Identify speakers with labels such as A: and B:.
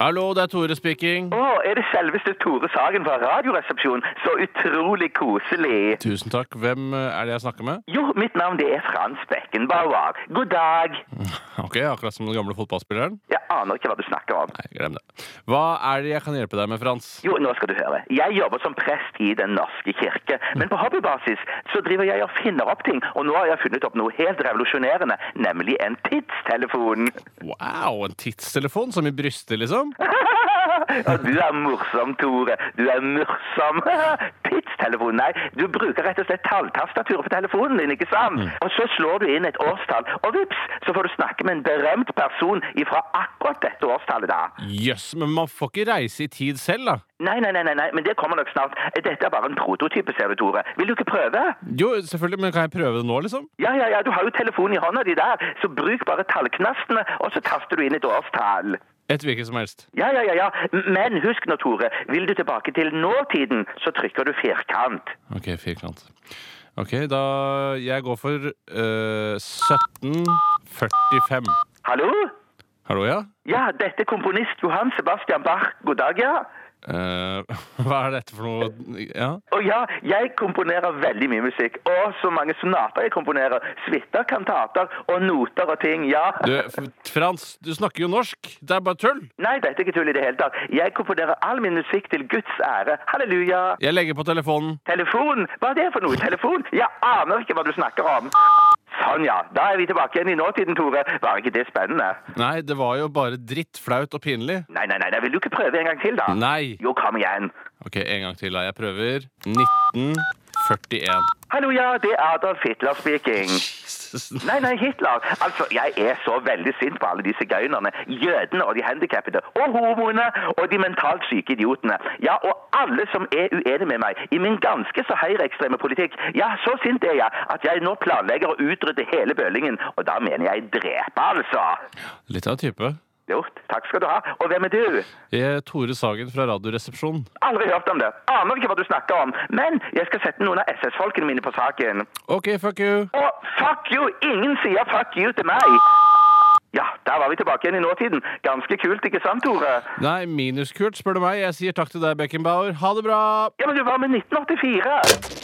A: Hallo, det er Tore speaking.
B: Å, er det selveste Tore Sagen fra Radioresepsjonen? Så utrolig koselig.
A: Tusen takk. Hvem eh, er det jeg snakker med?
B: Jo, mitt navn det er Frans Beckenbauer. God dag.
A: Ok, Akkurat som den gamle fotballspilleren?
B: Jeg aner ikke hva du snakker om.
A: Nei, glem det. Hva er det jeg kan hjelpe deg med, Frans?
B: Jo, nå skal du høre. Jeg jobber som prest i Den norske kirke. Men på hobbybasis så driver jeg og finner opp ting, og nå har jeg funnet opp noe helt revolusjonerende, nemlig en tidstelefon.
A: Wow, en tidstelefon som i brystet, liksom?
B: Og du er morsom, Tore. Du er morsom. Tidstelefon, nei. Du bruker rett og slett talltastaturet på telefonen din, ikke sant? Og så slår du inn et årstall, og vips, så får du snakke med en berømt person ifra akkurat dette årstallet, da.
A: Jøss, men man får ikke reise i tid selv, da?
B: Nei, nei, nei, nei, nei, men det kommer nok snart. Dette er bare en prototype, ser du, Tore. Vil du ikke prøve?
A: Jo, selvfølgelig, men kan jeg prøve det nå, liksom?
B: Ja, ja, ja, du har jo telefonen i hånda di der, så bruk bare tallknastene, og så taster du inn et årstall.
A: Et hvilket som helst.
B: Ja, ja, ja, ja. Men husk nå, Tore, vil du tilbake til nåtiden, så trykker du firkant.
A: Ok, firkant. Ok, da Jeg går for eh, 1745.
B: Hallo?
A: Hallo, ja?
B: Ja, dette er komponist Johan Sebastian Bach. God dag, ja.
A: Eh, hva er dette for noe Ja?
B: Og ja, jeg komponerer veldig mye musikk. Og så mange sonater jeg komponerer. Suiter, kantater og noter og ting, ja.
A: Du, F- Frans, du snakker jo norsk. Det er bare tull.
B: Nei, dette er ikke tull i det hele tatt. Jeg komponerer all min musikk til Guds ære. Halleluja.
A: Jeg legger på telefonen.
B: Telefon? Hva er det for noe? Telefon? Jeg aner ikke hva du snakker om. Sånn, ja. Da er vi tilbake igjen i nåtiden, Tore. Var ikke det spennende?
A: Nei, det var jo bare dritt, flaut og pinlig.
B: Nei, nei, nei, nei. vil du ikke prøve en gang til, da?
A: Nei.
B: Jo, kom igjen.
A: Ok, en gang til, da. Jeg prøver. 1941.
B: Hallo, ja, det er Adolf Hitler speaking.
A: Jesus.
B: Nei, nei, Hitler. Altså, jeg er så veldig sint på alle disse gøynerne, jødene og de handikappede, og homoene og de mentalt syke idiotene. Ja, og alle som er uenige med meg i min ganske så høyreekstreme politikk. Ja, så sint er jeg at jeg nå planlegger å utrydde hele bølingen, og da mener jeg drepe, altså.
A: Litt av en type.
B: Gjort. Takk skal du ha. Og hvem er du?
A: Jeg er Tore Sagen fra Radioresepsjonen.
B: Aldri hørt om det. Aner ikke hva du snakker om. Men jeg skal sette noen av SS-folkene mine på saken.
A: OK, fuck you.
B: Og fuck you! Ingen sier fuck you til meg! Ja, der var vi tilbake igjen i nåtiden. Ganske kult, ikke sant, Tore?
A: Nei, minuskult, spør du meg. Jeg sier takk til deg, Beckenbauer. Ha det bra!
B: Ja, men du var med 1984!